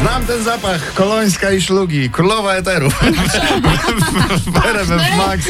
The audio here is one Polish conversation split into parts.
Znam ten zapach. Kolońska i szlugi. Królowa eterów. w RMF Max.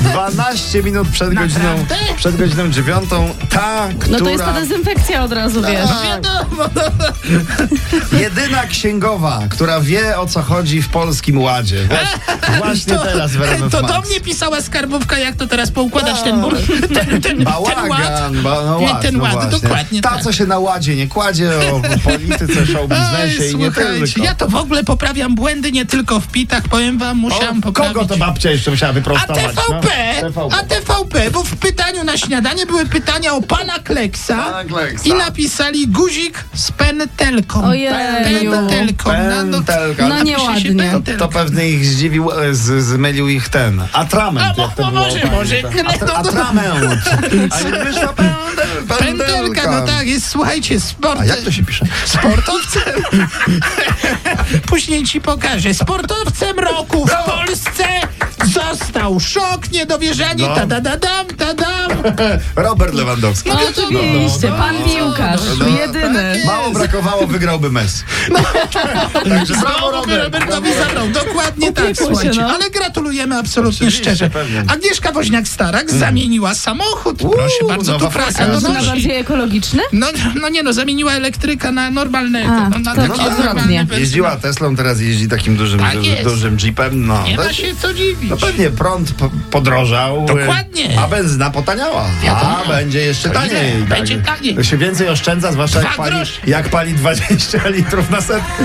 12 minut przed godziną, Naprawdę? przed godziną dziewiątą. Ta, która... No to jest ta dezynfekcja od razu, wiesz. Tak. Wiadomo. no. Jedyna księgowa, która wie o co chodzi w polskim ładzie. Właśnie, właśnie teraz w RMF To Max. No. do mnie pisała skarbówka, jak to teraz poukładać ten bur, ten, ten, ten ład. Bałagan, ba, no Nie, ład, ten no ład, właśnie. dokładnie Ta, tak. co się na ładzie nie kładzie, o polityce, show biznesie Ej, i nie słuchajcie, tylko. ja to w ogóle poprawiam błędy nie tylko w pitach, powiem wam, O, musiałam poprawić. Kogo to babcia jeszcze musiała a wyprostować? TVP, no? a TVP, bo w pytaniu na śniadanie były pytania o pana Kleksa, Pana Kleksa. i napisali guzik z pentelką. Ojeju. Pentelką. No, no, Pentelka. No nie napisze się ładnie. pentelką. To pewnie ich zdziwił, e, z, zmylił ich ten. A, Atrament. mo- jak to mo- było, może, pani, może, tak. no, Atr- no, no. Atrament. A nie wyszła pędel- Pentelka, no tak, jest, słuchajcie, sport. A jak to się pisze? Sportowcem. Później ci pokażę. Sportowcem roku No. w Polsce został szok, niedowierzanie, No. ta da da dam, ta dam. Robert Lewandowski. No. Oczywiście, pan piłkarz, no, no. jedyny. Mało brakowało, wygrałby Messi. No. Także brawo, Brawo Robert. No, Robertowi zabrał. Dokładnie tak, Upiekło się, słuchajcie. no. Ale gratulujemy absolutnie Oczywiście, szczerze. pewnie. Mm. Agnieszka Woźniak-Starak zamieniła samochód. Proszę bardzo, nowa tu prasa frakcja. no, A to na donosi. bardziej ekologiczny? No, no nie no, zamieniła elektryka na normalnego. A, no, na to taki tak. normalny bez- no. Jeździła Teslą, teraz jeździ takim dużym, Tak du- jest. dużym jeepem. No, Nie To- ma się co dziwić. No pewnie prąd po- podrożał. y, Dokładnie. A benzyna potaniała. A będzie jeszcze To ile? taniej. Tak. Będzie taniej. To się więcej oszczędza, zwłaszcza jak Dwa pali, grosze. jak pali 20 litrów na setkę.